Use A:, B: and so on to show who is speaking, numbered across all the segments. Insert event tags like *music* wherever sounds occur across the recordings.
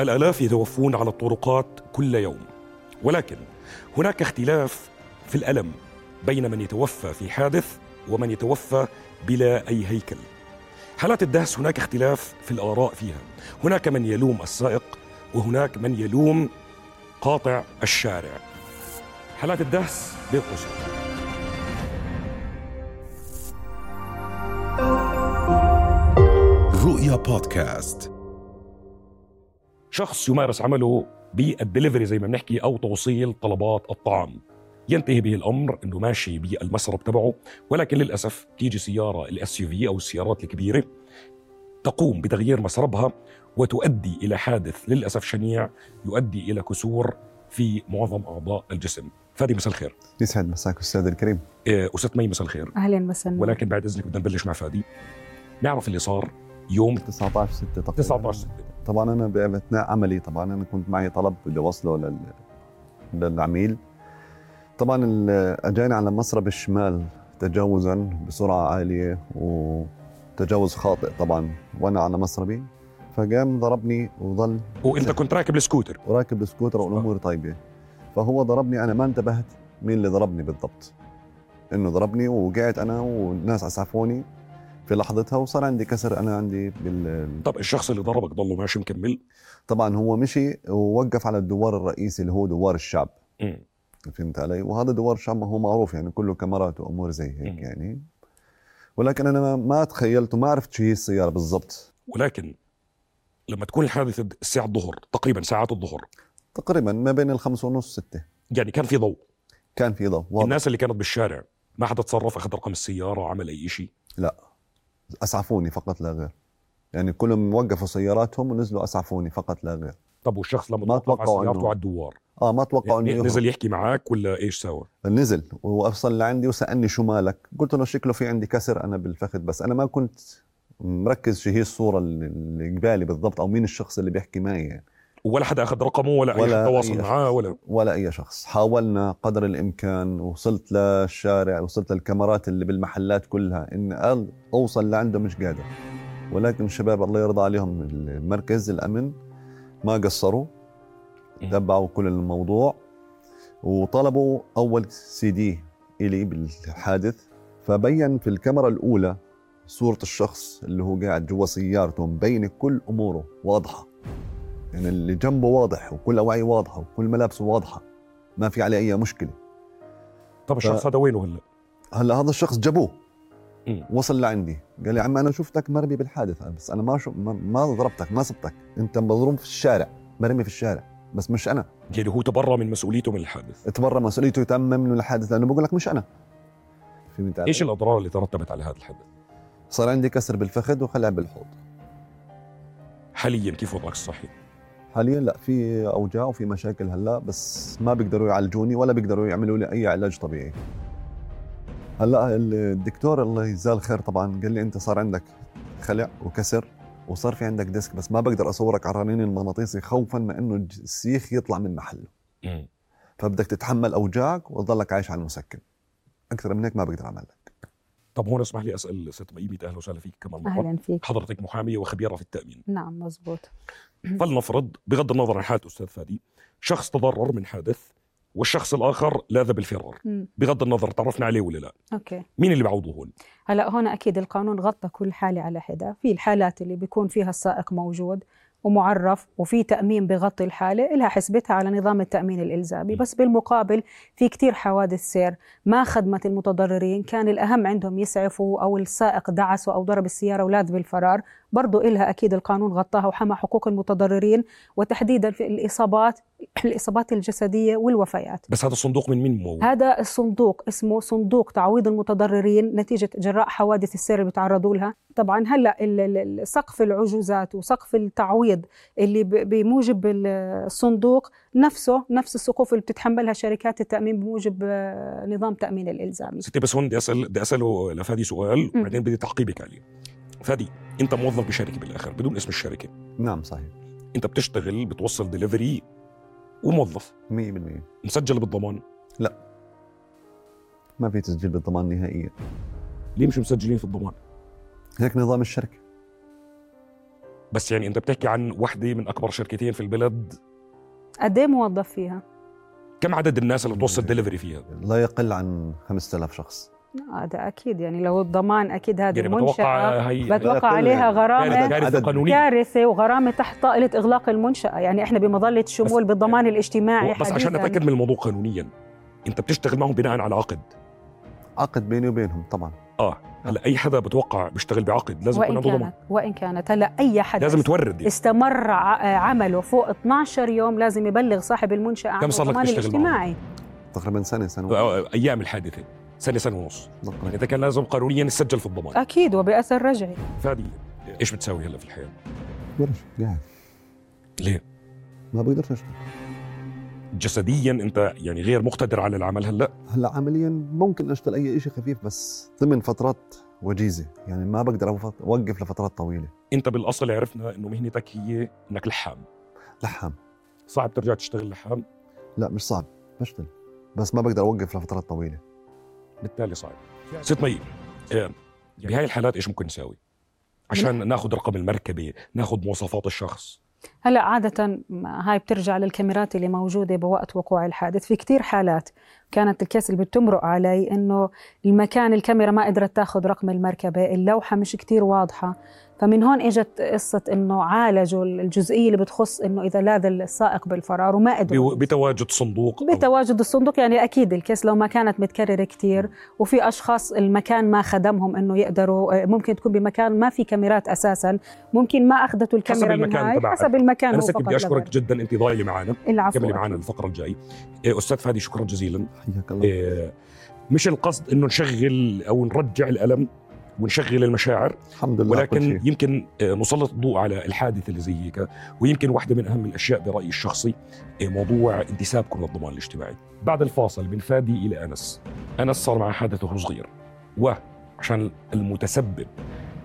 A: الآلاف يتوفون على الطرقات كل يوم ولكن هناك اختلاف في الألم بين من يتوفى في حادث ومن يتوفى بلا أي هيكل حالات الدهس هناك اختلاف في الآراء فيها هناك من يلوم السائق وهناك من يلوم قاطع الشارع حالات الدهس بين قوسين
B: رؤيا بودكاست
A: شخص يمارس عمله بالدليفري زي ما بنحكي او توصيل طلبات الطعام ينتهي به الامر انه ماشي بالمسرب تبعه ولكن للاسف تيجي سياره الاس يو في او السيارات الكبيره تقوم بتغيير مسربها وتؤدي الى حادث للاسف شنيع يؤدي الى كسور في معظم اعضاء الجسم فادي مساء الخير
C: يسعد مساك استاذ الكريم
A: آه، استاذ مي مساء الخير
D: اهلا وسهلا
A: ولكن بعد اذنك بدنا نبلش مع فادي نعرف اللي صار يوم
C: 19 6 تقريبا
A: 19
C: طبعا انا باثناء عملي طبعا انا كنت معي طلب بدي اوصله لل... للعميل طبعا ال- اجاني على مسرب الشمال تجاوزا بسرعه عاليه وتجاوز خاطئ طبعا وانا على مسربي فقام ضربني وظل
A: وانت كنت راكب السكوتر
C: وراكب السكوتر والامور طيبه فهو ضربني انا ما انتبهت مين اللي ضربني بالضبط انه ضربني ووقعت انا والناس اسعفوني في لحظتها وصار عندي كسر انا عندي بال...
A: طب الشخص اللي ضربك ضله ماشي مكمل
C: طبعا هو مشي ووقف على الدوار الرئيسي اللي هو دوار الشعب
A: مم.
C: فهمت علي وهذا دوار الشعب هو معروف يعني كله كاميرات وامور زي
A: مم.
C: هيك يعني ولكن انا ما- ما تخيلت وما عرفت شو هي السياره بالضبط
A: ولكن لما تكون الحادثه الساعه الظهر تقريبا ساعات الظهر
C: تقريبا ما بين الخمسة ونص ستة
A: يعني كان في ضوء
C: كان في ضوء واضح.
A: الناس اللي كانت بالشارع ما حدا تصرف اخذ رقم السياره عمل اي شيء
C: اسعفوني فقط لا غير يعني كلهم وقفوا سياراتهم ونزلوا اسعفوني فقط لا غير
A: طب والشخص لما
C: ما
A: توقف على
C: أتوقع
A: سيارته
C: إنه-
A: على الدوار
C: اه ما توقعوا انه
A: يعني
C: يهرب.
A: نزل يحكي معك ولا ايش سوى
C: نزل ووصل لعندي وسالني شو مالك قلت له شكله في عندي كسر انا بالفخذ بس انا ما كنت مركز شو هي الصوره اللي اللي قبالي بالضبط او مين الشخص اللي بيحكي معي يعني.
A: ولا حدا اخذ رقمه ولا, اي
C: ولا
A: حدا تواصل
C: أي
A: معاه ولا
C: ولا اي شخص حاولنا قدر الامكان وصلت للشارع وصلت للكاميرات اللي بالمحلات كلها ان أل- اوصل لعنده مش قادر ولكن الشباب الله يرضى عليهم المركز الامن ما قصروا
A: مم.
C: تبعوا كل الموضوع وطلبوا اول سي دي الي بالحادث فبين في الكاميرا الاولى صوره الشخص اللي هو قاعد جوا سيارته مبين كل اموره واضحه يعني اللي جنبه واضح وكل اوعيه واضحه وكل ملابسه واضحه ما في عليه اي مشكله
A: طب الشخص هذا وينه هلا
C: هلا هذا الشخص جابوه
A: مم.
C: وصل لعندي قال لي عم انا شفتك مرمي بالحادث أنا بس انا ما شو ما- ما ضربتك ما صبتك انت مضروب في الشارع مرمي في الشارع بس مش انا
A: يعني هو تبرى من مسؤوليته من الحادث
C: اتبرى مسؤوليته يتمم من الحادث لانه بقول لك مش انا فهمت علي؟
A: ايش الاضرار اللي ترتبت على هذا الحدث
C: صار عندي كسر بالفخذ وخلع بالحوض
A: حاليا كيف وضعك الصحي
C: حاليا لا في اوجاع وفي مشاكل هلا بس ما بيقدروا يعالجوني ولا بيقدروا يعملوا لي اي علاج طبيعي هلا الدكتور الله يجزاه الخير طبعا قال لي انت صار عندك خلع وكسر وصار في عندك ديسك بس ما بقدر اصورك على الرنين المغناطيسي خوفا من انه الج- السيخ يطلع من محله
A: مم.
C: فبدك تتحمل اوجاعك وتضلك عايش على المسكن اكثر من هيك ما بقدر اعمل لك
A: طب هون اسمح لي اسال ست ميمي اهلا وسهلا فيك كمان مره
D: اهلا فيك
A: حضرتك محاميه وخبيره في التامين
D: نعم مزبوط
A: فلنفرض بغض النظر عن حالة أستاذ فادي شخص تضرر من حادث والشخص الآخر لاذ بالفرار
D: مم.
A: بغض النظر تعرفنا عليه ولا لا
D: اوكي
A: مين اللي بعوضه هون
D: هلا هون اكيد القانون غطى كل حاله على حده في الحالات اللي بيكون فيها السائق موجود ومعرف وفي تامين بغطي الحاله لها حسبتها على نظام التامين الالزامي
A: م.
D: بس بالمقابل في كتير حوادث سير ما خدمت المتضررين كان الاهم عندهم يسعفوا او السائق دعسوا او ضرب السياره ولاذ بالفرار برضو إلها اكيد القانون غطاها وحمى حقوق المتضررين وتحديدا في الاصابات الاصابات الجسديه والوفيات
A: بس هذا الصندوق من مين ممول
D: هذا الصندوق اسمه صندوق تعويض المتضررين نتيجة جراء حوادث السير اللي بيتعرضوا لها طبعا هلأ ال- ال- ال- سقف العجوزات وسقف التعويض اللي ب- بموجب ال- الصندوق نفسه نفس السقوف اللي بتتحملها شركات التأمين بموجب آه، نظام تأمين الإلزامي
A: ستي بس هون بدي أسأل بدي أسأله لفادي سؤال
D: مم.
A: وبعدين بدي تعقيبك عليه فادي أنت موظف بشركة بالآخر بدون اسم الشركة
C: نعم صحيح
A: أنت بتشتغل بتوصل دليفري وموظف
C: 100% ما
A: مسجل بالضمان
C: في تسجيل بالضمان نهائيا
A: ليه مش مسجلين في الضمان
C: هيك نظام الشركه
A: بس يعني انت بتحكي عن وحده من اكبر شركتين في البلد
D: قد ايه موظف فيها؟
A: كم عدد الناس اللي بتوصل ديليفري فيها
C: لا يقل عن 5000 شخص
D: هذا اكيد يعني لو الضمان اكيد هذه
A: يعني
D: المنشاه
A: بتوقع هي
D: بتوقع
C: لا يقل
D: عليها
C: يعني.
A: كارثة-
D: غرامه
A: كارثه
C: عدد.
A: قانونيه
D: كارثه وغرامه تحت طائله اغلاق المنشاه يعني احنا بمظله الشمول بالضمان الاجتماعي
A: يعني بس عشان
D: حديثاً.
A: اتاكد من الموضوع قانونيا انت بتشتغل معهم بناء على عقد
C: عقد بيني وبينهم طبعا
A: اه هلا اي حدا بتوقع بيشتغل بعقد لازم يكون
D: وان
A: عنده ضمان
D: كانت وان كانت هلا اي حد
A: لازم تورد يعني.
D: استمر ع- عمله فوق 12 يوم لازم يبلغ صاحب المنشاه عن
A: كم صار لك
D: الضمان
A: تشتغل معه؟
D: الاجتماعي
C: تقريبا سنه سنه ونص.
A: آه، آه، ايام الحادثه سنه سنه ونص يعني انت كان لازم قانونيا تسجل في الضمان
D: اكيد وباثر رجعي
A: فادي ايش بتساوي هلا في الحياه؟
C: بقدرش قاعد
A: ليه؟
C: ما بقدرش اشتغل
A: جسديا انت يعني غير مقتدر على العمل هلا
C: هلا عمليا ممكن اشتغل اي شيء خفيف بس ضمن فترات وجيزه يعني ما بقدر أوف- اوقف لفترات طويله
A: انت بالاصل عرفنا انه مهنتك هي انك لحام
C: لحام
A: صعب ترجع تشتغل لحام
C: لا مش صعب بشتغل بس ما بقدر اوقف لفترات طويله
A: بالتالي صعب ست مي آه، بهاي الحالات ايش ممكن نساوي؟ عشان ناخذ رقم المركبه ناخذ مواصفات الشخص
D: هلا عادة هاي بترجع للكاميرات اللي موجودة بوقت وقوع الحادث في كتير حالات كانت الكاس اللي بتمرق علي انه المكان الكاميرا ما قدرت تاخذ رقم المركبة اللوحة مش كتير واضحة فمن هون اجت قصة انه عالجوا الجزئية اللي بتخص انه اذا لاذ السائق بالفرار وما قدروا
A: بو- بتواجد صندوق أو-
D: بتواجد الصندوق يعني اكيد الكيس لو ما كانت متكرره كثير وفي اشخاص المكان ما خدمهم انه يقدروا آه، ممكن تكون بمكان ما في كاميرات اساسا ممكن ما اخذته الكاميرا من
A: المكان
D: هاي،
A: تبعك.
D: حسب المكان
A: انا
D: هو
A: ست
D: فقط
A: بدي
D: لا
A: اشكرك
D: غير.
A: جدا انت ضايله معنا
D: العفو
A: كملي معنا الفقره الجاي آه، استاذ فادي شكرا جزيلا
C: حياك الله
A: آه، مش القصد انه نشغل او نرجع الالم ونشغل المشاعر
C: الحمد لله على كل
A: ولكن
C: شيء.
A: يمكن آه، نسلط الضوء على الحادث اللي زي هيك ويمكن واحدة من أهم الأشياء برأيي الشخصي آه، موضوع انتسابكم للضمان الاجتماعي بعد الفاصل من فادي إلى أنس أنس صار مع حادث وهو صغير وعشان المتسبب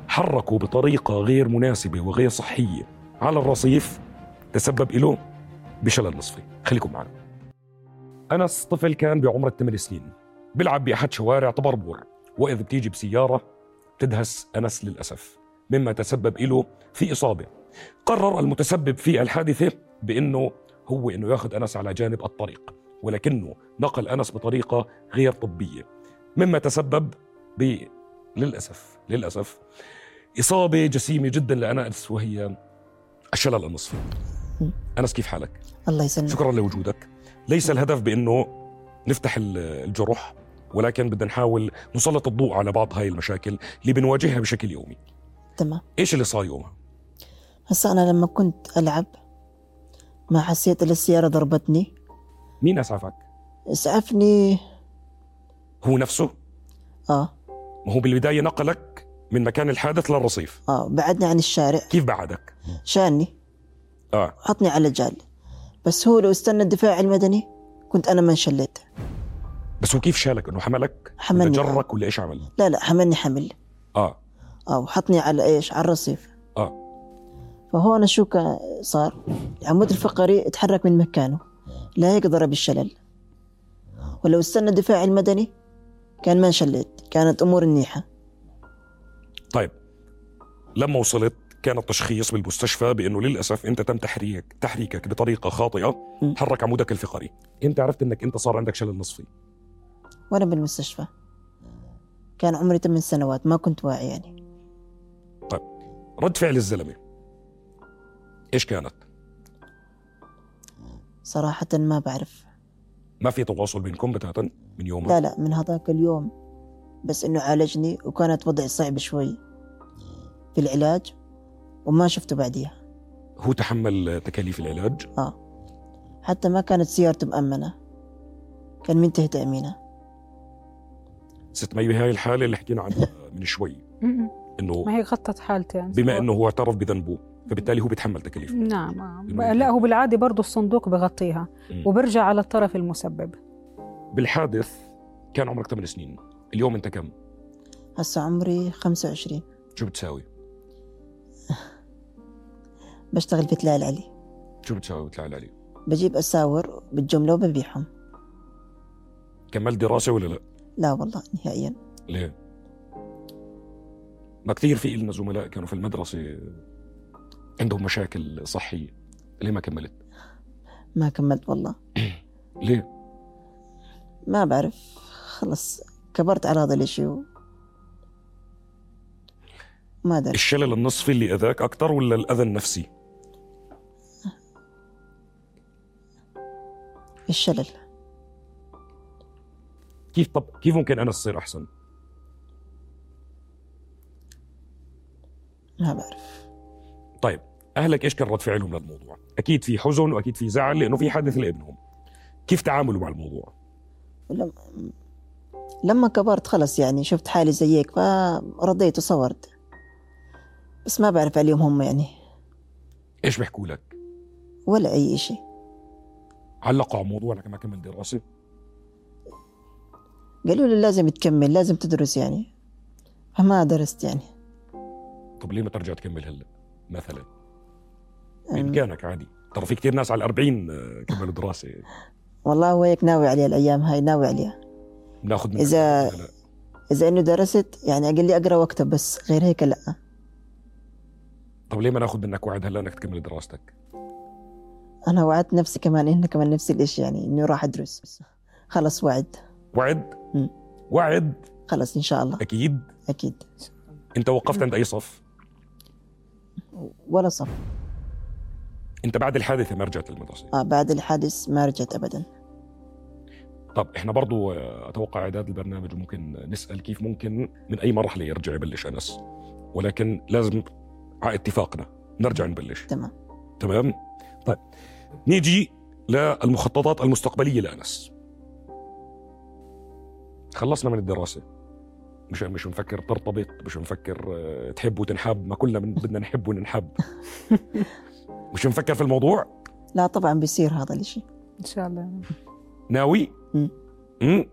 A: حركه بطريقة غير مناسبة وغير صحية على الرصيف تسبب له بشلل نصفي خليكم معنا أنس طفل كان بعمر الثمان سنين بيلعب بأحد شوارع طبربور وإذ بتيجي بسيارة تدهس أنس للأسف مما تسبب له في إصابة قرر المتسبب في الحادثة بأنه هو أنه ياخذ أنس على جانب الطريق ولكنه نقل أنس بطريقة غير طبية مما تسبب ب للأسف للأسف إصابة جسيمة جدا لأنس وهي الشلل النصفي أنس كيف حالك؟
B: الله يسلمك
A: شكرا لوجودك ليس الهدف بأنه نفتح ال- الجرح ولكن بدنا نحاول نسلط الضوء على بعض هاي المشاكل اللي بنواجهها بشكل يومي
B: تمام
A: ايش اللي صار يومها
B: هسا انا لما كنت العب ما حسيت الا السياره ضربتني
A: مين اسعفك
B: اسعفني
A: هو نفسه
B: اه
A: ما هو بالبدايه نقلك من مكان الحادث للرصيف
B: اه بعدني عن الشارع
A: كيف بعدك
B: شاني
A: اه
B: حطني على جال بس هو لو استنى الدفاع المدني كنت انا ما انشليت
A: بس هو كيف شالك انه حملك
B: حملني.
A: ولا جرك ولا ايش عمل
B: لا لا حملني حمل
A: اه
B: اه وحطني على ايش على الرصيف
A: اه
B: فهون شو كا- صار يعني العمود الفقري اتحرك من مكانه لا يقدر بالشلل ولو استنى الدفاع المدني كان ما انشليت كانت امور منيحه
A: طيب لما وصلت كان التشخيص بالمستشفى بانه للاسف انت تم تحريك تحريكك بطريقه خاطئه
B: م.
A: تحرك عمودك الفقري انت عرفت انك انت صار عندك شلل نصفي
B: وأنا بالمستشفى كان عمري 8 سنوات ما كنت واعي يعني
A: رد فعل الزلمه ايش كانت
B: صراحة ما بعرف
A: ما في تواصل بينكم بتاتا من يومها
B: لا لا من هذاك اليوم بس إنه عالجني وكانت وضعي صعب شوي في العلاج وما شفته بعديها
A: هو تحمل تكاليف العلاج
B: حتى ما كانت سيارته مأمنة كان منتهي تأمينه
A: ست مي بهاي الحاله اللي حكينا عنها من شوي
D: م-م.
A: انه
D: ما هي غطت حالتي يعني
A: بما انه هو اعترف بذنبه فبالتالي هو بيتحمل تكاليفه
D: نعم آه. لا هو بالعاده برضه الصندوق بغطيها
A: مم.
D: وبرجع على الطرف المسبب
A: بالحادث كان عمرك 8 سنين اليوم انت كم
B: هسا عمري 25
A: شو بتساوي
B: بشتغل في تلال علي
A: شو بتساوي بتطلع علي
B: بجيب أساور بالجملة وببيعهم
A: كملت دراسه ولا لا
B: لا والله نهائيا
A: ليه ما كثير في إلنا زملاء كانوا في المدرسة عندهم مشاكل صحيه ليه ما كملت
B: ما كملت والله
A: ليه
B: ما بعرف خلص كبرت على هذا الاشي و... ما ادري
A: الشلل النصفي اللي اذاك اكتر ولا الاذى النفسي
B: الشلل
A: كيف طب كيف ممكن انا اصير احسن
B: ما بعرف
A: طيب اهلك ايش كان رد فعلهم للموضوع اكيد في حزن واكيد في زعل لانه في حدث لابنهم كيف تعاملوا مع الموضوع
B: لم... لما كبرت خلص يعني شفت حالي زيك فرضيت وصورت بس ما بعرف عليهم هم يعني
A: ايش بيحكوا لك
B: ولا اي اشي
A: علقوا على موضوع انك ما كملت دراسه
B: قالوا لي لازم تكمل لازم تدرس يعني فما درست يعني
A: طب ليه ما ترجع تكمل هلا مثلا
B: أم،
A: بامكانك عادي ترى في كثير ناس على الأربعين آه، كملوا دراسه
B: والله هو هيك ناوي عليها الايام هاي ناوي عليها
A: بناخذ من
B: إذا-
A: لا.
B: اذا انه درست يعني اقل لي اقرا واكتب بس غير هيك لا
A: طب ليه ما ناخذ منك وعد هلا انك تكمل دراستك
B: انا وعدت نفسي كمان انه كمان نفس الاشي يعني انه راح ادرس خلص وعد
A: وعد
B: مم.
A: وعد
B: خلص ان شاء الله
A: اكيد
B: اكيد
A: انت وقفت عند اي صف
B: ولا صف
A: انت بعد الحادثه ما رجعت للمدرسه
B: آه بعد الحادث ما رجعت ابدا
A: طب احنا برضو آه، اتوقع اعداد البرنامج ممكن نسال كيف ممكن من اي مرحله يرجع يبلش انس ولكن لازم على اتفاقنا نرجع نبلش
B: تمام
A: تمام طيب نيجي للمخططات المستقبليه لانس خلصنا من الدراسه مش مش مفكر ترتبط مش مفكر آه، تحب وتنحب ما كلنا من- بدنا نحب وننحب مش مفكر في الموضوع
B: لا طبعا بيصير هذا *laughs* الاشي
D: ان شاء الله
A: ناوي
B: مم.
A: مم.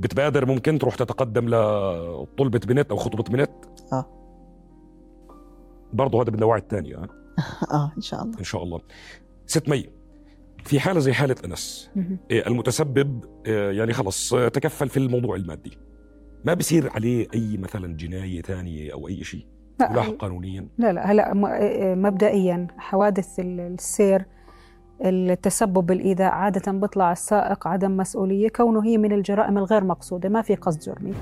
A: بتبادر ممكن تروح تتقدم لطلبة بنت أو خطبة بنت
B: آه.
A: برضه هذا بدنا وعد تاني آه؟
B: اه ان شاء الله
A: إن شاء الله ست مي في حالة زي حالة أنس إيه، المتسبب إيه، يعني خلص آه، تكفل في الموضوع المادي ما بصير عليه أي مثلا جناية تانية أو أي شيء ملاحق قانونيا
D: لا لا هلا م- آه، مبدئيا حوادث ال- السير التسبب بالإيذاء عادة بيطلع السائق عدم مسؤولية كونه هي من الجرائم الغير مقصودة ما في قصد جرمي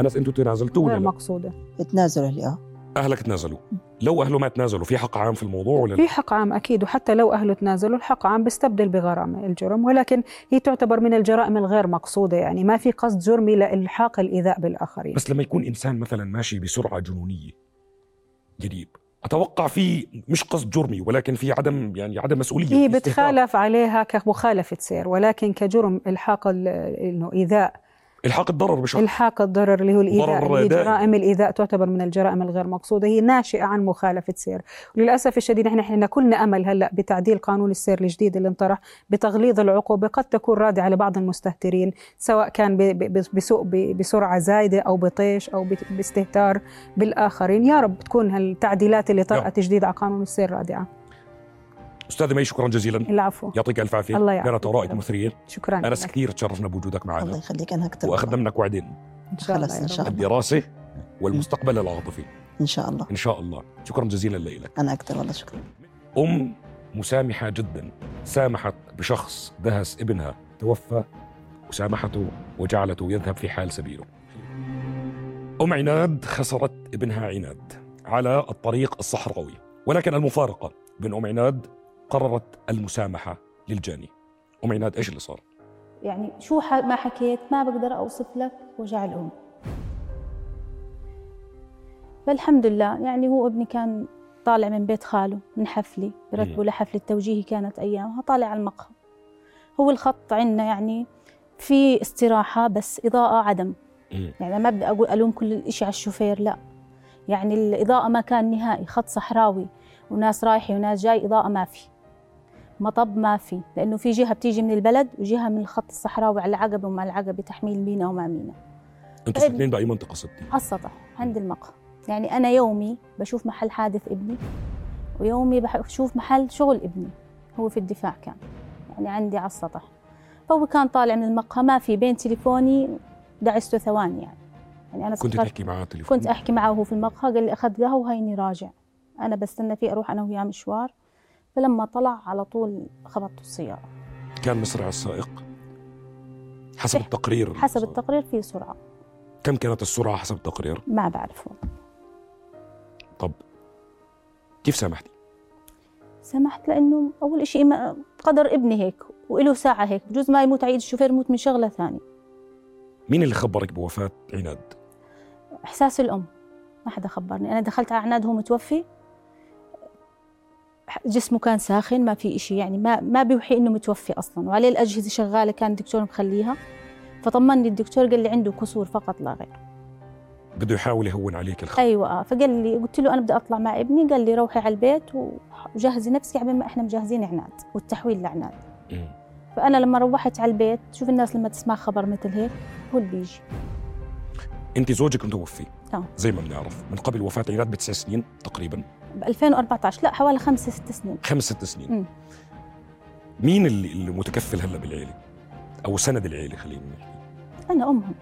A: أنس أنتوا تنازلتوا ولا
D: غير
A: لا؟
D: مقصودة
B: تنازل اهلي اه
A: أهلك تنازلوا لو أهله ما تنازلوا في حق عام في الموضوع ولا لا؟
D: في حق عام أكيد وحتى لو أهله تنازلوا الحق عام بيستبدل بغرامة الجرم ولكن هي تعتبر من الجرائم الغير مقصودة يعني ما في قصد جرمي لإلحاق الإيذاء بالآخرين
A: بس لما يكون انسان مثلا ماشي بسرعه جنونيه جديد اتوقع في مش قصد جرمي ولكن في عدم يعني عدم مسؤوليه
D: هي
A: استهتار.
D: إيه، بتخالف عليها كمخالفة سير ولكن كجرم إلحاق ال- إنه إيذاء
A: الحاق الضرر بشخص
D: إلحاق الضرر اللي هو الإيذاء
A: ضرر
D: اللي هي
A: دائم.
D: جرائم الإيذاء تعتبر من الجرائم الغير مقصودة هي ناشئة عن مخالفة سير وللأسف الشديد نحن إحنا كلنا أمل هلأ بتعديل قانون السير الجديد اللي انطرح بتغليظ العقوبة قد تكون رادعة لبعض المستهترين سواء كان ب- ب- بسوق ب- بسرعة زايدة أو بطيش أو بت- باستهتار بالآخرين يا رب تكون هالتعديلات اللي طرأت جديد على قانون السير رادعة
A: استاذ مي شكرا جزيلا
D: العفو
A: يعطيك الف عافيه
D: الله يعافيك.
A: كانت ارائك مثريه
D: شكرا
A: انس
D: لك.
A: كثير تشرفنا بوجودك
B: الله
A: معنا
B: يخليك انا اكتر
A: واخذنا منك وعدين
D: إن شاء الله
B: خلص
D: يا
B: إن
D: رب.
B: شاء الله.
A: الدراسه والمستقبل العاطفي
B: ان شاء الله
A: ان شاء الله شكرا جزيلا لك
B: انا اكتر والله شكرا
A: ام مسامحه جدا سامحت بشخص دهس ابنها توفى وسامحته وجعلته يذهب في حال سبيله أم عناد خسرت ابنها عناد على الطريق الصحراوي ولكن المفارقة بين أم عناد قررت المسامحة للجاني أم عناد إيش اللي صار؟
E: يعني شو ح- ما حكيت ما بقدر أوصف لك وجع الأم فالحمد لله يعني هو ابني كان طالع من بيت خاله من حفلة برتبوا لحفلة توجيهي كانت أيامها طالع على المقهى هو الخط عندنا يعني في استراحة بس إضاءة عدم
A: مم.
E: يعني ما بدي أقول ألوم كل الإشي على الشوفير لا يعني الإضاءة ما كان نهائي خط صحراوي وناس رايحة وناس جاي إضاءة ما في مطب ما في لأنه في جهة بتيجي من البلد وجهة من الخط الصحراوي على العقبة وما العقبة تحميل مينا وما مينا
A: أنتوا
E: طيب.
A: الاثنين بأي منطقة ستي؟
E: على السطح عند المقهى يعني أنا يومي بشوف محل حادث ابني ويومي بح- بشوف محل شغل ابني هو في الدفاع كان يعني عندي على السطح فهو كان طالع من المقهى ما في بين تليفوني دعسته ثواني يعني يعني أنا
A: كنت
E: استغربت.
A: تحكي معاه تليفون
E: كنت احكي معه وهو في المقهى قال لي اخذت قهوه وهيني راجع أنا بستنى فيه أروح أنا وياه مشوار فلما طلع على طول خبطته السيارة
A: كان مسرع السائق حسب
E: إيه،
A: التقرير
E: حسب التقرير في سرعة
A: كم كانت السرعة حسب التقرير
E: ما بعرف والله
A: طب كيف سامحتي
E: سمحت لأنه أول إشي ما قدر ابني هيك وإله ساعة هيك بجوز ما يموت عيد الشوفير يموت من شغلة ثانية
A: مين اللي خبرك بوفاة عناد
E: إحساس الأم ما حدا خبرني أنا دخلت على عناد هو متوفي جسمه كان ساخن ما في إشي يعني ما ما بيوحي إنه متوفي أصلا وعليه الأجهزة شغالة كان الدكتور مخليها فطمني الدكتور قال لي عنده كسور فقط لا غير
A: بده يحاول يهون عليك الخبر
E: ايوه آه. فقال لي قلت له انا بدي اطلع مع ابني قال لي روحي على البيت وجهزي نفسك عبين ما احنا مجهزين عناد والتحويل لعناد
A: مم.
E: فانا لما روحت على البيت شوف الناس لما تسمع خبر مثل هيك هو اللي بيجي
A: انت زوجك متوفي
E: نعم.
A: زي ما بنعرف من قبل وفاة عناد بتسع سنين تقريبا
E: ب 2014 لا حوالي خمس ست سنين
A: خمس ست سنين
E: مم.
A: مين اللي اللي متكفل هلا بالعيله او سند العيله خلينا نحكي
E: انا امهم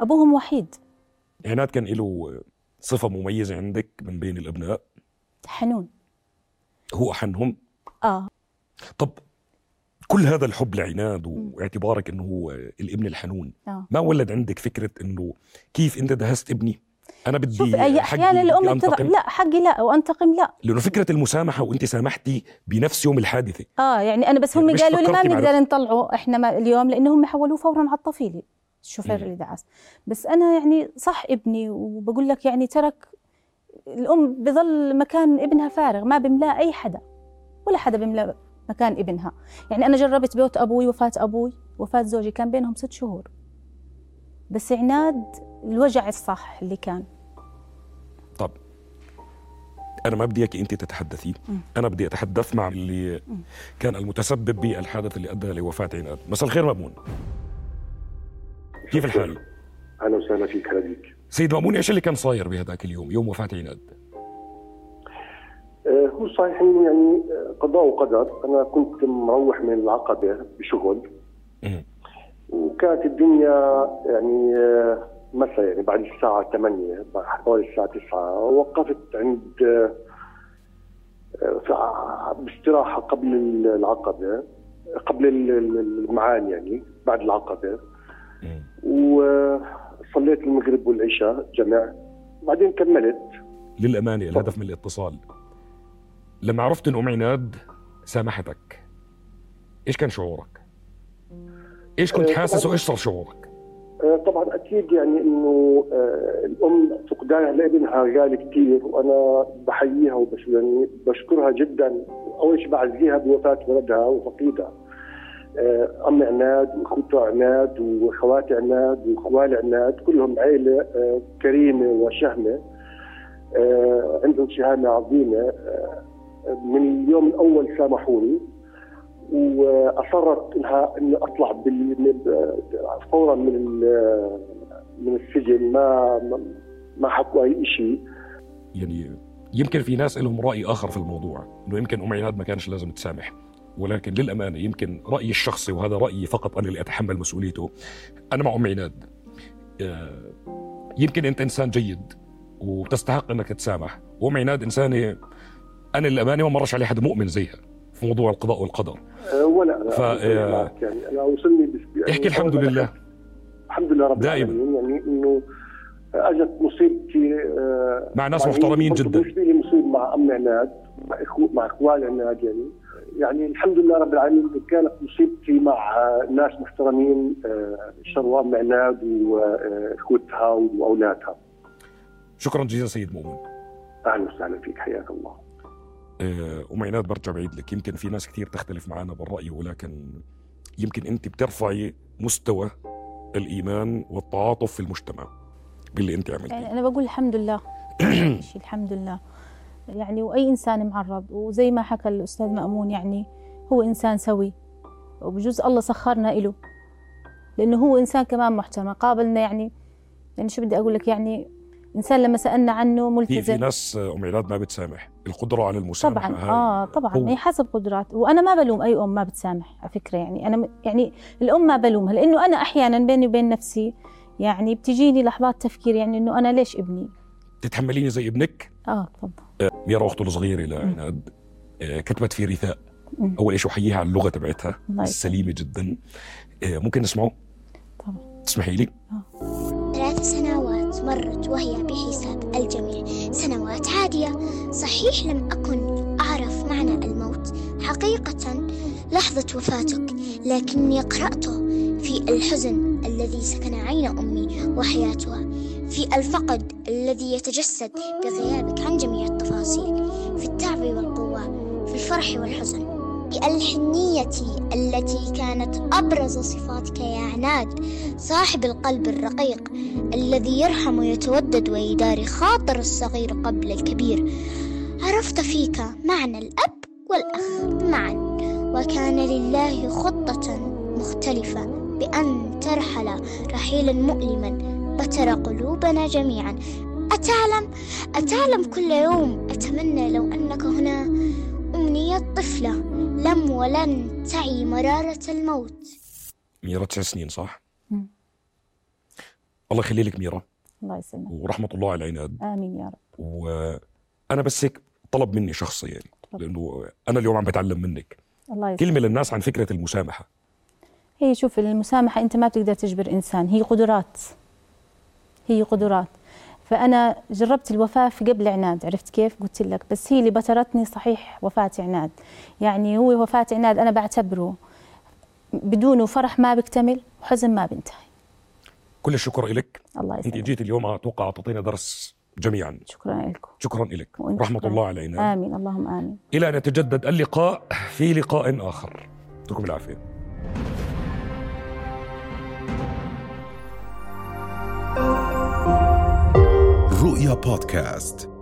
E: ابوهم وحيد
A: عناد كان له صفه مميزه عندك من بين الابناء
E: حنون
A: هو احنهم
E: اه
A: طب كل هذا الحب لعناد واعتبارك انه هو الابن الحنون
E: آه.
A: ما ولد عندك فكره انه كيف انت دهست ابني انا بدي
E: شوف اي
A: حقي-
E: احيانا
A: بدي
E: الام بتضع
A: أنتقم.
E: لا حقي لا وانتقم لا
A: لانه فكره المسامحه وانت سامحتي بنفس يوم الحادثه
E: اه يعني انا بس هم
A: مش
E: قالوا لي ما
A: فكرتي
E: بنقدر
A: معرفة.
E: نطلعه احنا ما اليوم لانه هم حولوه فورا على الطفيلي الشوفير
A: مم.
E: اللي دعس بس انا يعني صح ابني وبقول لك يعني ترك الام بظل مكان ابنها فارغ ما بملاه اي حدا ولا حدا بملا مكان ابنها يعني انا جربت بيوت ابوي وفاه ابوي وفاه زوجي كان بينهم ست شهور بس عناد الوجع الصح اللي كان
A: طب انا ما بدي اياكي انت تتحدثي
E: مم.
A: انا بدي اتحدث مع اللي
E: مم.
A: كان المتسبب بالحادث اللي ادى لوفاه عناد مساء الخير مامون كيف الحال
F: اهلا وسهلا فيك هلا بيك
A: سيد مامون ايش اللي كان صاير بهذاك اليوم يوم وفاه عناد
F: آه، هو صحيح إنه يعني آه، قضاء وقدر انا كنت مروح من العقبه بشغل
A: مم.
F: وكانت الدنيا يعني آه، مثلا يعني بعد الساعه 8 بعد حوالي الساعه 9 وقفت عند آه، آه، في- باستراحه قبل العقبه قبل ال- ال- المعاد يعني بعد العقبه
A: مم.
F: وصليت المغرب والعشاء جمع بعدين كملت
A: للامانه الهدف من الاتصال لما عرفت ان ام عناد سامحتك ايش كان شعورك ايش كنت
F: آه،
A: حاسس
F: طبعاً.
A: وايش صار شعورك
F: آه، طبعا اكيد يعني انه آه، الام فقدانها لابنها غالي كثير وانا بحييها وبش يعني بشكرها جدا اول شيء بعزيها بوفاه ولدها وفقيدها آه، امي عناد واخوتها عناد واخواتي عناد واخوالي عناد كلهم عائله آه، كريمه وشهمه آه، عندهم شهامه عظيمه آه، من اليوم الاول سامحوني واصرت انها اني اطلع بال فورا من ال- من السجن ما ما- ما حكوا اي شيء
A: يعني يمكن في ناس لهم راي اخر في الموضوع انه يمكن ام عناد ما كانش لازم تسامح ولكن للامانه يمكن رايي الشخصي وهذا رايي فقط انا اللي اتحمل مسؤوليته انا مع ام عناد آه، يمكن انت انسان جيد وتستحق انك تسامح وام عناد انسانه انا للامانه ما مرش علي حد مؤمن زيها في موضوع القضاء والقدر
F: آه، ولا
A: ف- آه،
F: معك يعني انا وصلني بس يعني
A: احكي الحمد
F: أنا-
A: لله
F: الحمد لله رب
A: دائماً.
F: العالمين يعني انه اجت مصيبتي آه،
A: مع ناس
F: مع-
A: محترمين
F: برضو
A: جدا
F: بالنسبه لي مصيبه مع ام عناد مع اخو مع اخوال عناد يعني يعني الحمد لله رب العالمين كانت مصيبتي مع آه، ناس محترمين آه، شروا ام عناد أه، واخوتها واولادها
A: شكرا جزيلا سيد مؤمن
F: اهلا وسهلا فيك حياك الله
A: آه، أم عناد برجع بعيد لك يمكن في ناس كثير تختلف معنا بالرأي ولكن يمكن أنت بترفعي مستوى الإيمان والتعاطف في المجتمع باللي أنت
E: يعني
A: عملتيه
E: انا بقول
A: *coughs*
E: الحمد لله شيء الحمد لله يعني واي انسان معرض وزي ما حكى الاستاذ مامون يعني هو انسان سوي وبجوز الله سخرنا إله لانه هو انسان كمان محترم قابلنا يعني يعني شو بدي اقول لك يعني انسان لما سالنا عنه
A: في في
E: ملتزم
A: ناس آه، أم عناد ما بتسامح القدرة على المسامحة
E: طبعا
A: هاي.
E: اه طبعا
A: هو-
E: هي حسب قدرات وانا ما بلوم اي ام ما بتسامح على فكره يعني انا م- يعني الام ما بلومها لانه انا احيانا بيني وبين نفسي يعني بتجيني لحظات تفكير يعني انه انا ليش ابني
A: تتحمليني زي ابنك
E: اه تفضل
A: ميرا أخته الصغيرة لعناد آه، كتبت في رثاء
E: مم.
A: أول شيء أحييها على اللغة تبعتها
E: الله يسلمك.
A: السليمة جدا آه، ممكن نسمعه
E: طبعا
A: تسمحي لي
G: ثلاث سنوات مرت وهي بحساب الجميع سنوات عادية صحيح لم أكن أعرف معنى الموت حقيقة لحظة وفاتك لكني قرأته في الحزن الذي سكن عين أمي وحياتها في الفقد الذي يتجسد بغيابك عن جميع التفاصيل في التعب والقوة في الفرح والحزن في الحنية التي كانت أبرز صفاتك يا عناد صاحب القلب الرقيق الذي يرحم ويتودد ويداري خاطر الصغير قبل الكبير عرفت فيك معنى الأب والأخ معا وكان لله خطة مختلفة بأن ترحل رحيلا مؤلما بتر قلوبنا جميعا أتعلم أتعلم كل يوم أتمنى لو أنك هنا أمنية طفلة لم ولن تعي مرارة الموت
A: ميرا تسع سنين صح؟
E: مم.
A: الله يخلي لك ميرا
E: الله يسلمك
A: ورحمة الله على عناد
E: امين يا رب
A: وأنا بس هيك طلب مني شخصي يعني
E: تفضل.
A: لأنه أنا اليوم عم بتعلم منك
E: الله يسلمك
A: كلمة للناس عن فكرة المسامحة
E: هي شوف المسامحة أنت ما بتقدر تجبر إنسان هي قدرات هي قدرات فأنا جربت الوفاة في قبل عناد عرفت كيف قلت لك بس هي اللي بترتني صحيح وفاة عناد يعني هو وفاة عناد أنا بعتبره بدونه فرح ما بيكتمل وحزن ما بينتهي
A: كل الشكر لك
E: الله
A: أنت
E: يسلمك
A: جيت اليوم أتوقع أعطينا درس جميعا
E: شكرا لكم
A: شكرا لك
E: وأنت
A: رحمة
E: شكراً.
A: الله على عناد
E: آمين اللهم آمين
A: إلى أن يتجدد اللقاء في لقاء آخر يعطيكم العافية
H: رؤيا بودكاست